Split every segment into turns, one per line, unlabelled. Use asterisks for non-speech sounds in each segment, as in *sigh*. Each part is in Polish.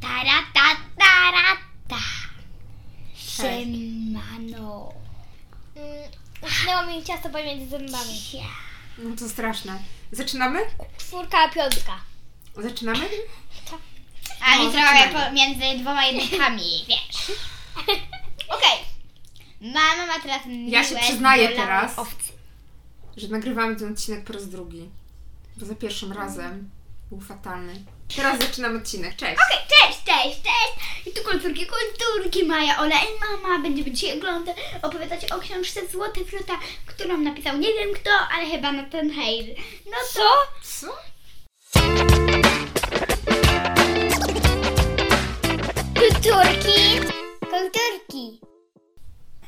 Tarata, tarata. Siemano.
Mm, Utknęło mi ciasto pomiędzy zębami.
Ja.
No to straszne. Zaczynamy?
Czwórka, a piątka.
Zaczynamy?
A
No,
mi trochę
zaczynamy.
pomiędzy dwoma *laughs* jedynkami, wiesz. Okej. Mama ma teraz miłe
się przyznaję
zbolałe
teraz.
Owcy.
Że nagrywamy ten odcinek po raz drugi. Bo za pierwszym razem był fatalny. Teraz zaczynam odcinek. Cześć!
Okej, cześć, cześć, cześć! I tu kulturki, kulturki, Maja, Ola i mama będziemy dzisiaj oglądać, opowiadać o książce Złote Fruta, którą napisał nie wiem kto, ale chyba na ten hejl. No to...
Co?
Kulturki. Kulturki.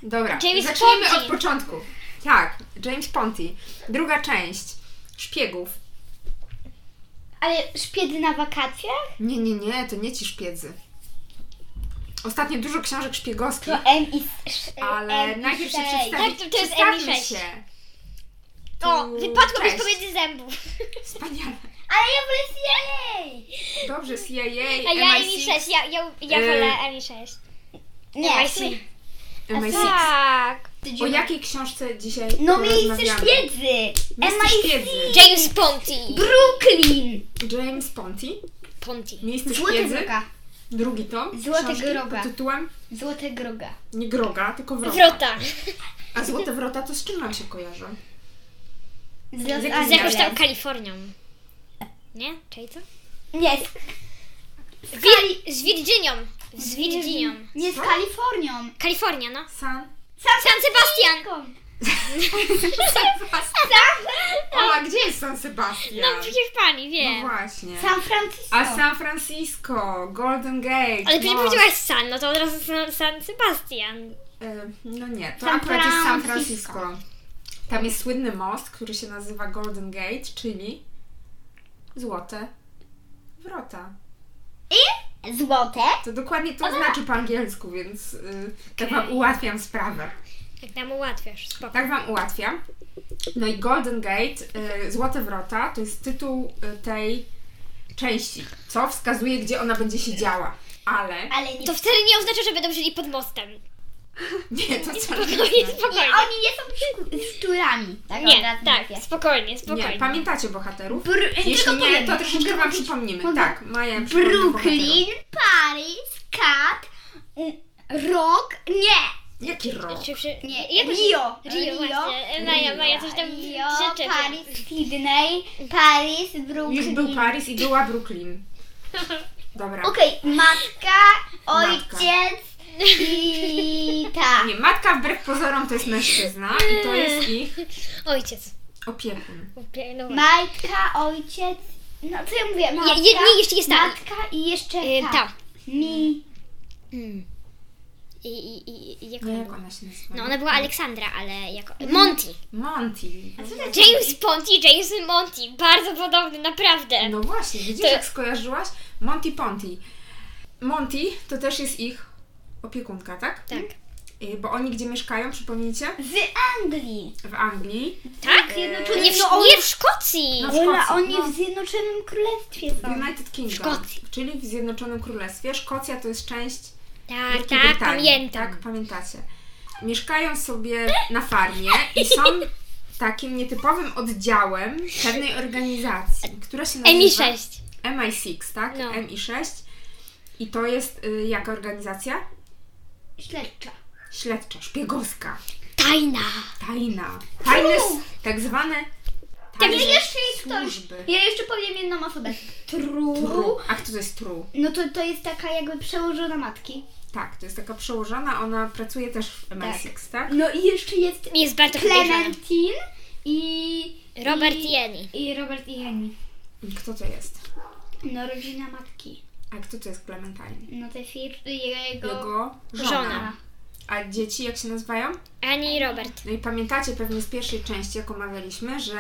Dobra,
James
zacznijmy
Ponty.
od początku. Tak, James Ponty. Druga część. Szpiegów.
Ale szpiedy na wakacjach?
Nie, nie, nie, to nie ci szpiedzy. Ostatnio dużo książek szpiegowskich,
M i...
ale najpierw się przedstawi...
Tak, to- to jest
przedstawmy
M6.
się.
No,
O,
Tu-
wypadło mi
cześć.
pomiędzy
*laughs*
zębów.
Wspaniale.
Ale ja wolę jej!
Dobrze, CIA,
A ja
MI6,
MI6, ja, ja, ja
Yy.
wolę MI6.
Nie,
MI6.
MI6.
Tak.
O jakiej książce dzisiaj
No miejsce
porozmawiamy?
szpiedzy!
Miejsce szpiedzy.
James Ponty.
Brooklyn!
James Ponty.
Ponty.
Miejsce
Złote
szpiedzy.
groga.
Drugi tom.
Złote
książki
groga.
Pod tytułem
Złote groga.
nie Groga, tylko Wrota.
Wrota.
A Złote Wrota to z czym nam się kojarzą?
Z,
Z
Los
jakimś-
Z jakąś tam
Angeles.
Kalifornią. Nie? Czyli co?
Nie, z,
Wir- z Virginią. Z Virginią.
nie z Kalifornią.
Kalifornia, no.
San.
San Sebastian.
Ola, gdzie jest San Sebastian?
No przecież pani
No
wie.
właśnie.
San Francisco.
A San Francisco, Golden Gate.
Ale przecież
most.
powiedziałaś San, no to od razu San, San Sebastian.
E, No nie, to
San
akurat jest San
Francisco.
Francisco. Tam jest słynny most, który się nazywa Golden Gate, czyli Złote Wrota.
I złote.
To dokładnie to znaczy po angielsku, więc y, tak
Okej.
Wam ułatwiam sprawę.
Jak Tak nam ułatwiasz, spoko.
Tak Wam ułatwiam. No i Golden Gate, y, Złote Wrota, to jest tytuł y, tej części, co wskazuje, gdzie ona będzie się działa. Ale...
Ale nie.
To wcale nie oznacza, że będą żyli pod mostem.
Nie, to *laughs* co?
Spokojnie,
nie,
spokojnie.
oni nie są szczu- szczurami. Tak, od
Nie,
razu mówię.
tak, spokojnie,
Nie,
spokojnie.
pamiętacie bohaterów?
Br-
Jeśli
tylko
nie,
powiem,
to troszeczkę Wam
mogę-
przypomnimy.
mogę-
Tak, Maja przypomni bohaterów.
Brooklyn, Paris, Kat, Rock, nie,
Jaki rok?
Czy przy...
nie,
jakoś-
Rio,
Rio, właśnie. Maja, Maja coś tam
Rio,
rzeczy.
Paris, Sydney, Paris, Brooklyn.
Już był Paris i była
*laughs*
Brooklyn. Dobra.
Okej, matka,
Matka.
ojciec
*laughs*
i tak.
Nie, matka wbrew pozorom to jest mężczyzna i to jest ich
Ojciec.
opiekun.
Upie- No właśnie.
Matka, ojciec, no co ja mówię, matka,
Je- je- nie, jeszcze jest ta.
matka i jeszcze
y,
ta.
Ta.
Mi,
Mm. I, i, i, i jak
No
ona
jak
była?
ona się nazywa?
No ona była Aleksandra, ale jako... Monty.
Monty.
James Ponty, James Monty. Bardzo podobny, naprawdę.
No właśnie, widzisz
To-
jak skojarzyłaś? Monty Ponty. Monty to też jest ich opiekunka, tak?
Tak.
Y, Bo oni gdzie mieszkają, przypomnijcie?
z Anglii.
W Anglii.
Tak?
Zjednoczonych-
Nie w,
No,
nie w Szkocji.
No, w
Ola,
Szkocji,
oni
no.
w Zjednoczonym Królestwie
W
są.
United Kingdom,
Szkocji.
czyli w Zjednoczonym Królestwie. Szkocja to jest część
Tak,
Wielkiej
tak,
Brytanii,
pamiętam.
Tak, pamiętacie. Mieszkają sobie na farmie i są takim nietypowym oddziałem pewnej organizacji, która się nazywa...
MI6.
MI6, tak?
No.
MI6. I to jest y, jaka organizacja?
Śledcza.
Śledcza, szpiegowska,
Tajna.
tajna. Tajne, s- tak zwane tajne
Ja jeszcze jest ktoś.
służby.
Ja jeszcze powiem jedną osobę. Tru.
Tru. A kto to jest tru?
No to, to jest taka jakby przełożona matki.
Tak, to jest taka przełożona, ona pracuje też w MI6, tak?
No i jeszcze jest
Jest bardzo podejrzany.
Clementine i...
Robert
i,
i Jenny.
I Robert i Henry.
I Kto to jest?
No rodzina matki.
A kto to jest Clementine?
No te fir... jego...
Jego żona.
Żona.
A dzieci jak się nazywają?
Ani i Robert.
No i pamiętacie pewnie z pierwszej części, jak omawialiśmy, że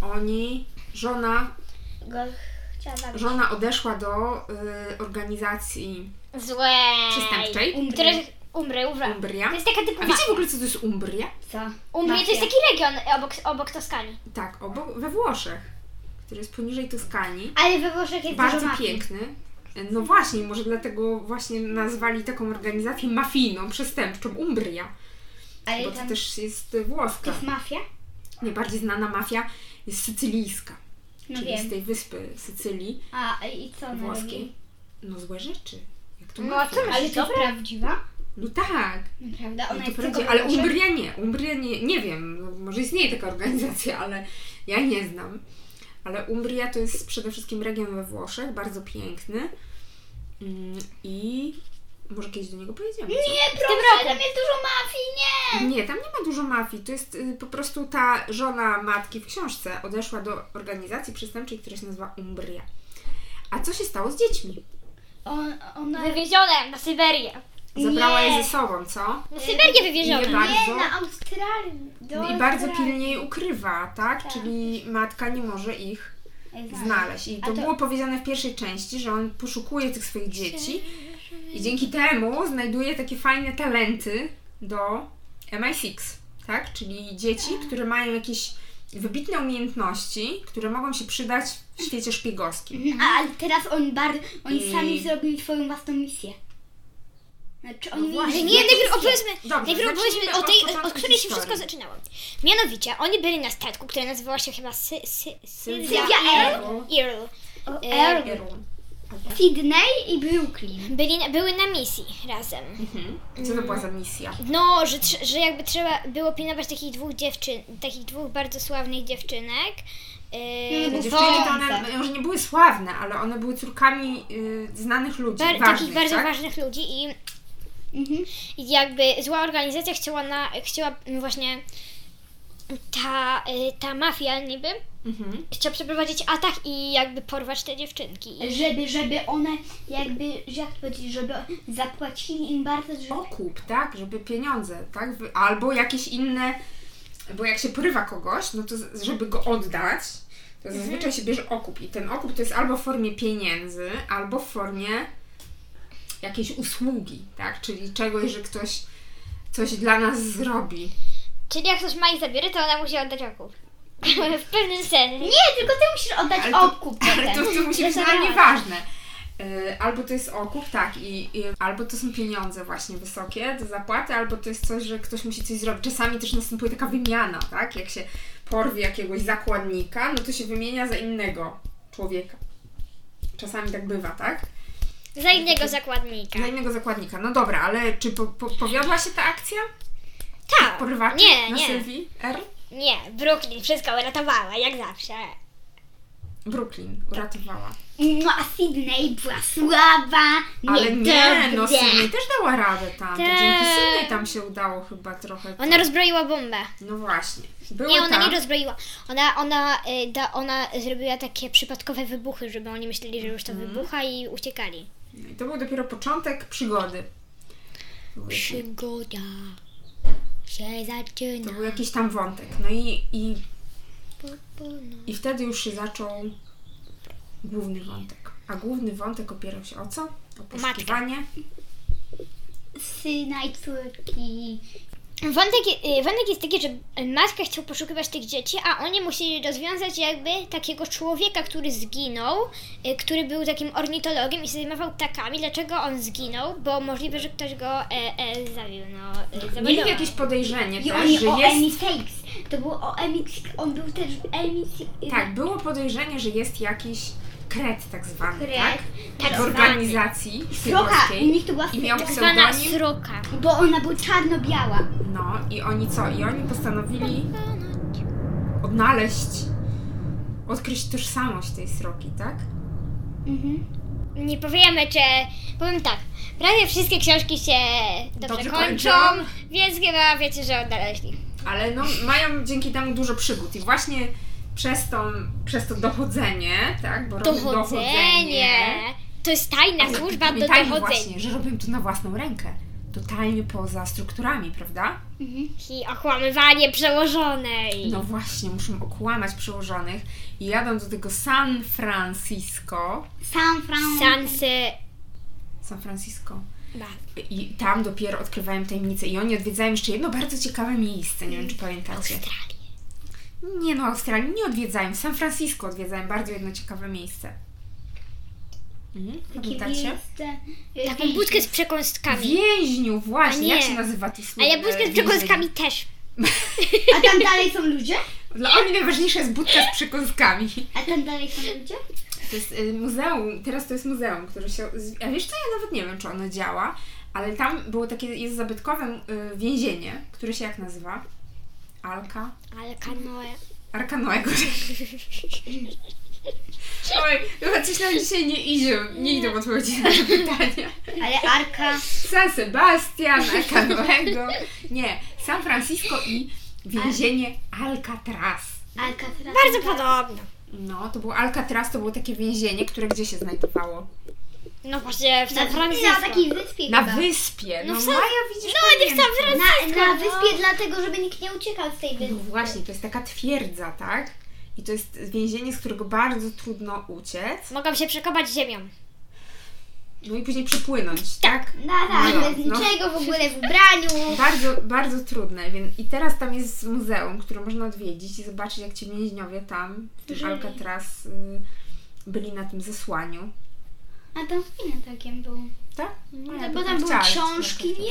oni, żona,
Go chciała zabić.
żona odeszła do y, organizacji
Złej.
przestępczej,
Umrze.
Które umrę, umrę.
Umbria.
To
Tak.
jest taka
A
typowa.
wiecie w ogóle, co to jest Umbria?
Co?
Umbria to
Mafia.
jest taki region obok, obok Toskanii.
Tak, obok, we Włoszech, który jest poniżej Toskanii.
Ale we Włoszech jest dużo
Bardzo
mafii.
piękny. No właśnie, może dlatego właśnie nazwali taką organizację mafijną, przestępczą, Umbria,
Ale
bo
tam
to też jest włoska.
to jest mafia?
Najbardziej znana mafia jest sycylijska,
No
czyli z
wiem.
tej wyspy Sycylii
A i co ona
włoskiej.
robi?
No złe rzeczy. Jak to
No,
mafia.
co masz?
Ale to jest
Dobra.
prawdziwa?
No tak,
Naprawdę?
no
Ona
to
jest tylko
prawdziwe, ale
włoska?
Umbria nie, Umbria nie, nie wiem, no, może istnieje taka organizacja, ale ja nie znam. Ale Umbria to jest przede wszystkim region we Włoszech, bardzo piękny Mm, i może kiedyś do niego pojedziemy. co?
Nie,
roku.
proszę, tam jest dużo mafii, nie!
Nie, tam nie ma dużo mafii. To jest y, po prostu ta żona matki w książce odeszła do organizacji przestępczej, która się nazywa Umbria. A co się stało z dziećmi?
On,
No.
ona...
Wywiezione na Syberię.
Zabrała
Nie.
je ze sobą, co?
Na Syberię
Y, Nie
wywiezione.
bardzo.
Nie, na Australii. Do
I bardzo
Australii.
pilnie je ukrywa, tak? Czyli matka nie może ich znaleźć. I
A
to było powiedziane w pierwszej części, że on poszukuje tych swoich dzieci i dzięki temu znajduje takie fajne talenty do MI6, tak? Czyli dzieci, które mają jakieś wybitne umiejętności, które mogą się przydać w świecie szpiegowskim.
A, ale teraz oni bardzo, oni
I-
sami zrobili swoją własną misję. Znaczy oni
No właśnie.
mieli...
Nie, najpierw opowiedzmy,
Dobrze,
najpierw
zacznijmy
opowiedzmy o
od
tej,
początku
od której się
historii.
wszystko zaczynało. Mianowicie, oni byli na statku, które nazywało się chyba Sy, sy, Sylwia
Sylwia
Earl. Earl.
O,
E,
Mhm.
Earl. Sydney i Brooklyn.
Byli, na- były na misji razem.
Mhm. Co to była za misja?
No, że, trze- że jakby trzeba było pilnować takich dwóch dziewczyn, takich dwóch bardzo sławnych dziewczynek.
No,
Yy,
Te
Wąsek.
dziewczyny to one może nie były sławne, ale one były córkami y, znanych ludzi,
bar-
ważnych,
takich bardzo
tak?
ważnych ludzi i
Mhm.
I jakby zła organizacja chciała na, chciała mm, właśnie ta, y, ta mafia niby
Mhm.
chciała przeprowadzić atak i jakby porwać te dziewczynki. I
Żeby, żeby one jakby, że jak to powiedzieć, żeby zapłacili im bardzo, żeby...
okup, tak? Żeby pieniądze, tak? Wy- Albo jakieś inne, bo jak się porywa kogoś, no to z- żeby go oddać, to
Mhm.
zazwyczaj się bierze okup. I ten okup to jest albo w formie pieniędzy, albo w formie jakiejś usługi, tak? Czyli czegoś, że ktoś coś dla nas zrobi.
Czyli jak ktoś ma ich zabiory, to ona musi oddać okup. *laughs* w pewnym sensie.
Nie, tylko ty musisz oddać
Ale to-
okup
*laughs* Ale to,
potem.
to musi
Ja
być dla
zabrałam.
mnie ważne. Y, Albo to jest okup, tak, i, i albo to są pieniądze właśnie wysokie do zapłaty, albo to jest coś, że ktoś musi coś zrobić. Czasami też następuje taka wymiana, tak? Jak się porwie jakiegoś zakładnika, no to się wymienia za innego człowieka. Czasami tak bywa, tak?
Za innego zakładnika.
Za innego zakładnika. No dobra, ale czy po, po, powiodła się ta akcja?
Tak.
Porywaczy
Nie,
na
nie.
Sylwii R?
Nie, Brooklyn wszystko uratowała, jak zawsze.
Brooklyn uratowała.
No a Sydney była słaba,
Ale nie, no
niedobre.
Sydney też dała radę tam. To
Tak.
dzięki Sydney tam się udało chyba trochę.
Ona rozbroiła bombę.
No właśnie. tak. Były
Nie, ona
tam.
nie rozbroiła. Ona, ona, y, da, ona zrobiła takie przypadkowe wybuchy, żeby oni myśleli, że już to
Mhm.
wybucha i uciekali.
No I To był dopiero początek przygody.
Przygoda się
To
zaczyna.
był jakiś tam wątek. No i, i,
Po, po, no.
i wtedy już się zaczął główny wątek. A główny wątek opierał się o co? O poszukiwanie.
Syna i córki.
Wątek, je- y, wątek jest taki, że matka chciał poszukiwać tych dzieci, a oni musieli rozwiązać jakby takiego człowieka, który zginął, y, który był takim ornitologiem i się zajmował ptakami. Dlaczego on zginął? Bo możliwe, że ktoś go e, e, zabił, no, e, zabił.
Mieli jakieś podejrzenie
I
też,
oni
że
o
jest...
Emmy Sakes. To było o Emmy On był też w Emmy
Tak, było podejrzenie, że jest jakiś kret tak zwany,
Kret.
tak?
tak
W
zwany.
organizacji
Sroka. U
szpiegowskiej.
nich to była
I miał
tak
sroka,
zwana
pseudonim?
sroka.
bo ona była czarno-biała.
No i oni co? I oni postanowili odnaleźć, odkryć tożsamość tej sroki, tak?
Mhm.
Nie powiemy, czy. Powiem tak. Prawie wszystkie książki się dobrze,
Dobrze
kończą,
kończą.
więc chyba wiecie, że odnaleźli.
Ale no, mają dzięki temu dużo przygód i właśnie przez, tą, przez to dochodzenie, tak? Bo robią
Dochodzenie! To jest tajna
Ale
służba do
pamiętajmy
dochodzenia.
właśnie, że robią to na własną rękę. Totalnie poza strukturami, prawda?
I okłamywanie przełożonej.
No właśnie, muszą okłamać przełożonych i jadą do tego San Francisco.
San Fran.
Sansy.
San Francisco.
Ba.
I tam dopiero odkrywają tajemnice i oni odwiedzają jeszcze jedno bardzo ciekawe miejsce, nie wiem czy pamiętacie.
Australii.
Nie no, Australii nie odwiedzają, San Francisco odwiedzają, bardzo jedno ciekawe miejsce. Mhm.
Takie
Pamiętacie?
miejsce.
Taką budkę z przekąskami.
Więźniu, właśnie,
A
jak
nie.
się nazywa to słowo?
A ja budkę z przekąskami też.
A tam dalej są ludzie?
Dla mnie najważniejsza jest budka z przekąskami.
A tam dalej są ludzie?
To jest y, muzeum, teraz to jest muzeum, które się... z- A wiesz co, ja nawet nie wiem, czy ono działa, ale tam było takie, jest zabytkowe y, więzienie, które się jak nazywa? Alka?
Ale kanoe.
Arka Noego. Oj, chyba coś nam dzisiaj nie idzie, nie idą odpowiedzi na te pytania.
Ale Arka.
San Sebastian, Arka Noego. Nie, San Francisco i więzienie Alcatraz.
Arka teraz.
Bardzo podobno.
No, to było Alcatraz, to było takie więzienie, które gdzie się znajdowało?
No właśnie w San Francisco.
Na takiej wyspie
Na
chyba.
wyspie. No,
No w San-
Maja, widzisz,
No nie w San Francisco.
na, na
no.
wyspie dlatego, żeby nikt nie uciekał z tej
No
wyspy.
właśnie, to jest taka twierdza, tak? I to jest więzienie, z którego bardzo trudno uciec.
Mogłam się przekopać ziemią.
No i później przepłynąć, tak?
Na tak,
No,
bez
no.
niczego w ogóle w ubraniu.
Bardzo, bardzo trudne. Więc, I teraz tam jest muzeum, które można odwiedzić i zobaczyć, jak ci więźniowie tam, w tym
Żyli.
Alcatraz, y, byli na tym zesłaniu.
A tam w kinie takiem był.
Tak?
No,
ja
bo
bym
tam były
chciała iść na
książki.
Alcatraz.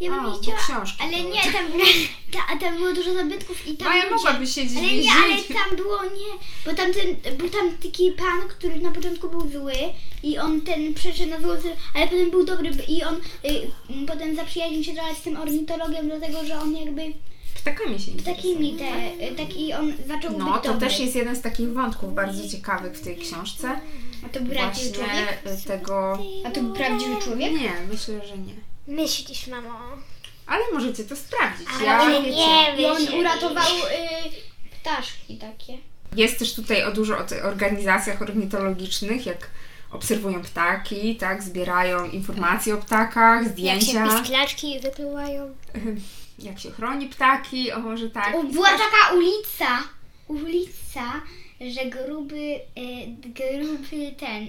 Nie, ja
A,
bym nie
bo
chciała.
książki
Ale
były.
nie, tam, ta, tam było dużo zabytków i tam.
Maja
ludzie-
mogłaby siedzieć
Ale
w
nie, ale
więzieniu.
tam było nie, bo tam ten, był tam taki pan, który na początku był zły i on ten przeszedł na złoty, ale potem był dobry i on y, m, potem zaprzyjaźnił się trochę z tym ornitologiem, dlatego że on jakby
Ptakami się interesuje.
takimi te, y, taki on zaczął
No,
być
to
dobry.
też jest jeden z takich wątków bardzo ciekawych w tej książce.
A to był prawdziwy człowiek?
Właśnie y, tego...
A to był prawdziwy człowiek?
Nie, myślę, że nie.
Myślisz, mamo.
Ale możecie to sprawdzić.
Ale
Ja,
nie
wiecie,
I on
myślisz.
uratował y, ptaszki takie.
jest też tutaj o dużo o tych organizacjach ornitologicznych, jak obserwują ptaki, tak, zbierają informacje o ptakach,
Jak się
zdjęcia,
pisklaczki wypływają.
jak się chroni ptaki, o może tak.
O, była taka ulica, ulica, że gruby, y, gruby ten,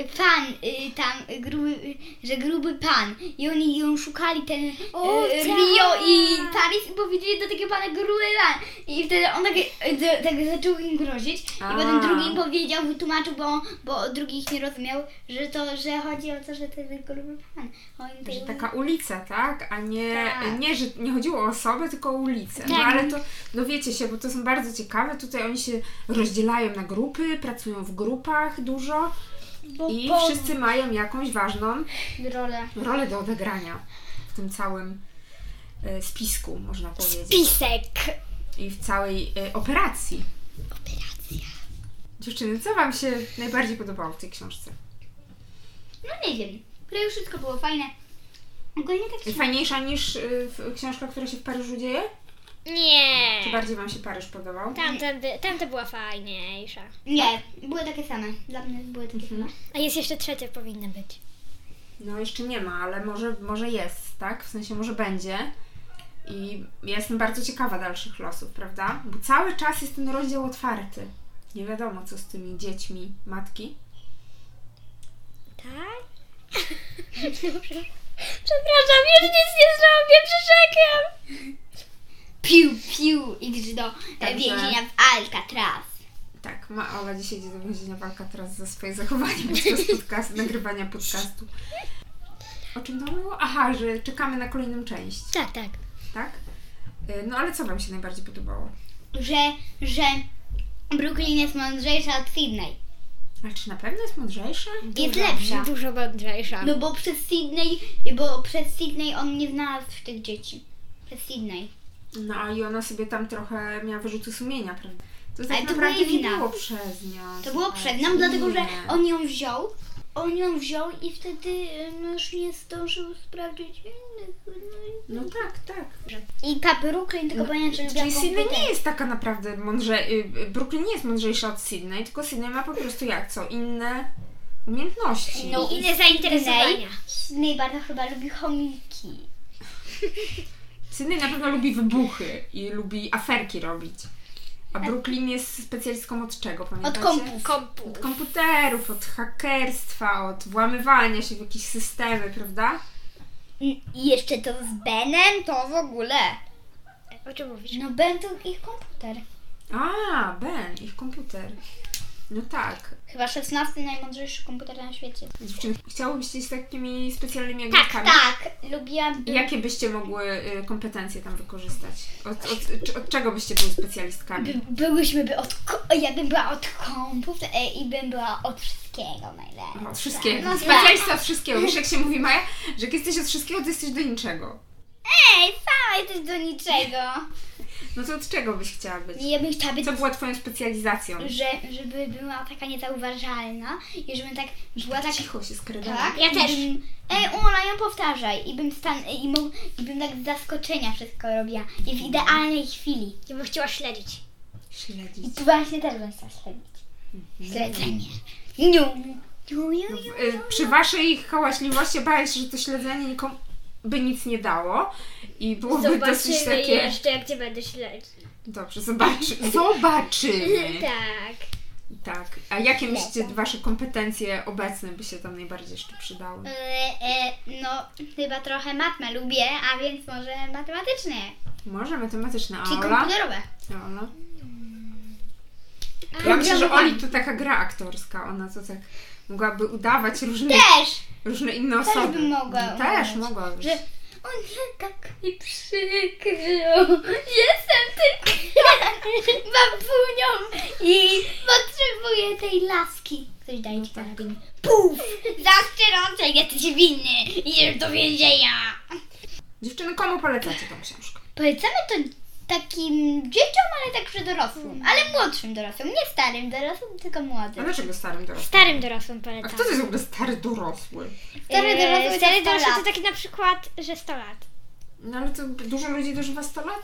y, pan y, tam, y, gruby, y, że gruby pan i oni ją szukali, ten y,
O,
Rio
tak.
i Paris i powiedzieli do takiego pana gruby pan i wtedy on tak, y, d- tak zaczął im grozić i
A.
potem drugi im powiedział, wytłumaczył, bo, bo drugi ich nie rozumiał, że to, że chodzi o to, że ten gruby pan. Oni
Że
tego-
taka ulica, tak? A nie,
Tak.
nie, że nie chodziło o osobę, tylko o ulicę. No
Tak.
ale to dowiecie się, bo to są bardzo ciekawe. Tutaj oni się rozdzielają na grupy, pracują w grupach dużo
bo
i
bo-
wszyscy mają jakąś ważną
rolę.
rolę do odegrania w tym całym e, spisku, można powiedzieć.
Pisek.
i w całej e, operacji.
Operacja.
Dziewczyny, co Wam się najbardziej podobało w tej książce?
No nie wiem, ale już wszystko było fajne. Ogólnie tak się...
Fajniejsza niż y, w- książka, która się w Paryżu dzieje?
Nie.
Czy
Tak.
bardziej Wam się Paryż podobał?
Tamten, by- tamta była fajniejsza.
Nie, były takie same. Dla mnie były takie same.
A jest jeszcze trzecia powinna być.
No jeszcze nie ma, ale może, może jest, tak? W sensie może będzie. I ja jestem bardzo ciekawa dalszych losów, prawda? Bo cały czas jest ten rozdział otwarty. Nie wiadomo, co z tymi dziećmi matki.
Tak? Dobrze. Przepraszam, już nic nie zrobię, przyrzekam.
Piu, piu i gdzieś do
Także-
Także... więzienia w Alcatraz.
Tak, ma Ola dzisiaj idzie do więzienia walka teraz za swoje zachowanie *laughs* podczas podcastu, nagrywania podcastu. O czym to było? Aha, że czekamy na kolejną część,
Tak, tak.
tak? Y, No ale co Wam się najbardziej podobało?
Że, że Brooklyn jest mądrzejsza od Sydney.
Ale czy na pewno jest mądrzejsza?
Jest lepsza.
Dużo
Tak.
mądrzejsza.
No bo przez Sydney, bo przez Sydney on nie znalazł tych dzieci. Przez Sydney.
No i ona sobie tam trochę miała wyrzuty sumienia, prawda? To tak
Ale to
naprawdę
była jej
nie
wina.
było przez nią.
To było
słuchajcie.
przed nam, dlatego że
Nie.
on ją wziął. On ją wziął i wtedy mąż nie zdążył sprawdzić innych. No i-
No tak, tak.
I ta Brooklyn tylko pamiętam, że
Czyli
lubiła
Sydney
komputer.
nie jest taka naprawdę mądrze... y, y, Brooklyn nie jest mądrzejsza od Sydney, tylko Sydney ma po prostu jak co? Inne umiejętności.
No,
I inne zainteresowania.
Sydney bardzo chyba lubi chomiki.
Sydney na pewno lubi wybuchy i lubi aferki robić. A Brooklyn jest specjalistką od czego,
Od
pamiętacie?
kompu.
Kompu.
Od komputerów, od hakerstwa, od włamywania się w jakieś systemy, prawda?
I jeszcze to z Benem, to w ogóle.
O czym mówisz?
No Ben to ich komputer.
A, Ben, ich komputer. No tak.
Chyba 16 najmądrzejszy komputer na świecie.
Dziewczyny, chciałybyście z takimi specjalnymi
Tak,
ogniskami?
tak. Lubiłam.
I Jakie byście mogły y, kompetencje tam wykorzystać? Od, od, czy- od czego byście były specjalistkami?
By, byłyśmy by od. Ko- ja bym była od kompów e, i bym była od wszystkiego najlepiej.
Od wszystkiego.
No tak.
Specjalista od wszystkiego. Wiesz, jak się mówi, Maja, że jak jesteś od wszystkiego, to jesteś do niczego.
Ej, sama jesteś do niczego.
No to od czego byś chciała być?
Ja bym chciała być
Co była twoją specjalizacją?
że, żeby była taka niezauważalna i żebym tak była tak
Cicho się skrydała.
tak
Ja
i
też.
bym- Ej, Ola, ją powtarzaj i bym stan i, mo- i bym tak z zaskoczenia wszystko robiła i w idealnej chwili.
Ja bym chciała śledzić.
I
Śledzić.
tu właśnie też bym chciała śledzić. Mhm. Śledzenie. Niu. Niu, niu, niu.
Y, Przy waszej hałaśliwości bałem się, że to śledzenie nikomu by nic nie dało i byłoby dosyć
Zobaczymy
takie...
jeszcze, jak cię będę śledzić.
Dobrze, zobaczy... zobaczymy.
*laughs* tak.
Tak. A jakie myślicie, wasze kompetencje obecne by się tam najbardziej jeszcze przydały?
E, e, no, chyba trochę matmę lubię, a więc może matematyczne,
Może matematyczne, a
czyli
Ola?
komputerowe.
A Ola? Ja myślę, że Oli to taka gra aktorska, ona to tak mogłaby udawać różne,
Też!
różne inne
też
osoby.
bym mogła
No, Też
udawać,
mogłabyś.
że on tak mi przykrył. Jestem tylko *laughs* babunią i potrzebuję tej laski. Ktoś daje ci
tak.
tak. Puf! Zastrzelące, jesteś winny. Idziesz do więzienia.
Dziewczyny, komu polecacie tą książkę?
Polecamy to takim dzieciom, ale także dorosłym. Ale młodszym dorosłym. Nie starym dorosłym, tylko
A
młodym.
dlaczego starym dorosłym?
Starym dorosłym
A
polecam.
kto to jest w ogóle stary dorosły?
Stary dorosły to tak-
Eee, Stary
100
dorosły
lat.
to taki na przykład, że 100 lat.
No ale to dużo ludzi dożywa 100 lat?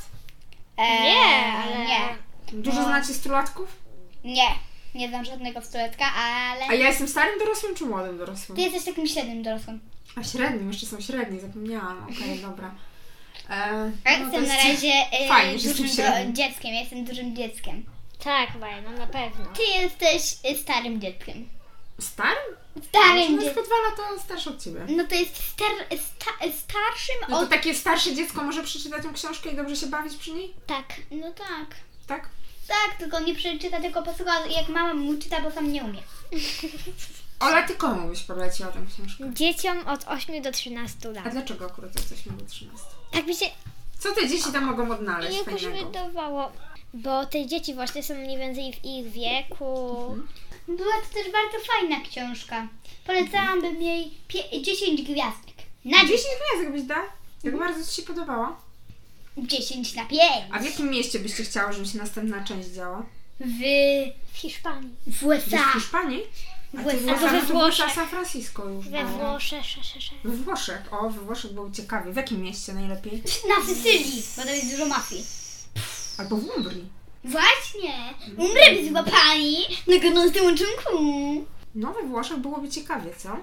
nie, ale...
E, Eee, Nie,
Dużo
No.
znacie stulatków?
nie. Nie znam żadnego stoletka, ale...
A ja jestem starym dorosłym czy młodym dorosłym?
Ty jesteś takim średnim dorosłym.
A średnim, jeszcze są średni, zapomniałam. Okej,
*laughs*
dobra. E,
Ja
no to
jestem Tak? na
jest-
razie y,
Fajnie, że
dużym
jesteś średnim.
do, dzieckiem, ja jestem dużym dzieckiem.
Tak, Maja, no na pewno.
Ty jesteś y, starym dzieckiem.
Starym?
Starym
No jest
dzieckiem.
tylko dwa lata starszy od ciebie.
No to jest star, sta, starszym
No to
od...
takie starsze dziecko może przeczytać tą książkę i dobrze się bawić przy niej?
Tak, no tak.
Tak?
Tak, tylko nie przeczyta, tylko posłucha jak mama mu czyta, bo sam nie umie.
Ola, ty komu byś poleciła tę książkę?
Dzieciom od 8 do 13
A
lat.
dlaczego akurat jesteśmy do 13?
Tak mi się
Co te dzieci tam mogą odnaleźć
jakoś
fajnego?
wydawało, bo te dzieci właśnie są mniej więcej w ich wieku.
No Była to też bardzo fajna książka. Polecałabym jej pie- 10 gwiazdek. Na
A 10 gwiazdek byś da? Jak bardzo ci się podobała?
10 na 5.
A w jakim mieście byście chciała, żeby się następna część działa?
W,
W Hiszpanii.
w
Gdzieś
USA.
w Hiszpanii? A ty
Albo
byłaś-
we
no to byłaś
Włoszech.
San Francisco już
We
była.
Włoszech, sze, sze, sze.
We Włoszech. O, we Włoszech był ciekawy. W jakim mieście najlepiej?
Na Sycylii, bo tam jest dużo mafii.
Albo w Umbrii.
Właśnie! Umrę z łapami na gorącym uczynku!
No, we Włoszech byłoby ciekawie, co?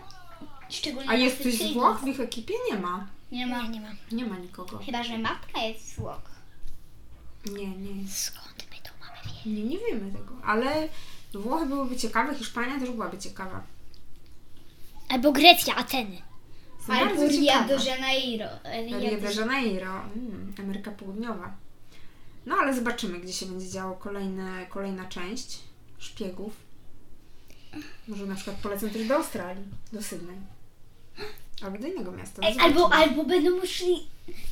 Szczególnie
A
na
jest ktoś z
Sycylii.
Włoch? W ich ekipie nie ma.
Nie ma.
nie mam.
Nie ma nikogo.
Chyba, że matka jest z Włoch.
Nie, nie.
Skąd my to mamy wiedzieć?
Nie, nie wiemy tego. Ale Włochy byłyby ciekawe, Hiszpania też byłaby ciekawa.
Albo Grecja, Ateny.
Są
Albo
bardzo
Rio
ciekawe.
de Janeiro.
Rio de Janeiro, mm, Ameryka Południowa. No ale zobaczymy, gdzie się będzie działo kolejne, kolejna część szpiegów. Może na przykład polecę też do Australii, do Sydney. Albo do innego miasta. No,
Ej,
zobaczymy.
Albo, albo będą musieli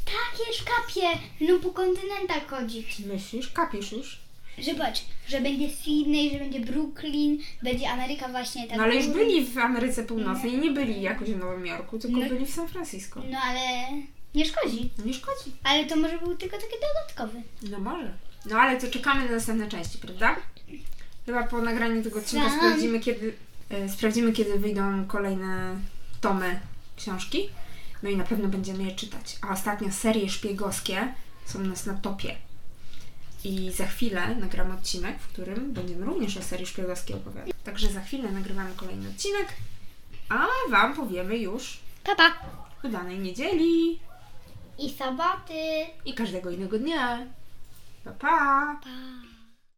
takie szkapie no po kontynentach chodzić.
Myślisz, kapisz już.
Zobacz, że będzie Sydney, że będzie Brooklyn, będzie Ameryka właśnie tak.
No ale już byli w Ameryce Północnej, nie byli jakoś w Nowym Jorku, tylko
No.
byli w San Francisco.
No ale nie szkodzi.
No nie szkodzi.
Ale to może był tylko taki dodatkowy.
No może. No ale to czekamy na następne części, prawda? Chyba po nagraniu tego odcinka
Sam.
sprawdzimy kiedy, e, sprawdzimy, kiedy wyjdą kolejne tomy książki. No i na pewno będziemy je czytać. A ostatnio serie szpiegowskie są u nas na topie. I za chwilę nagram odcinek, w którym będziemy również o serii szpiegowskiej opowiadać. Także za chwilę nagrywamy kolejny odcinek, a Wam powiemy już
Papa. Pa.
udanej niedzieli
I sabaty.
i każdego innego dnia. Pa, pa!
pa.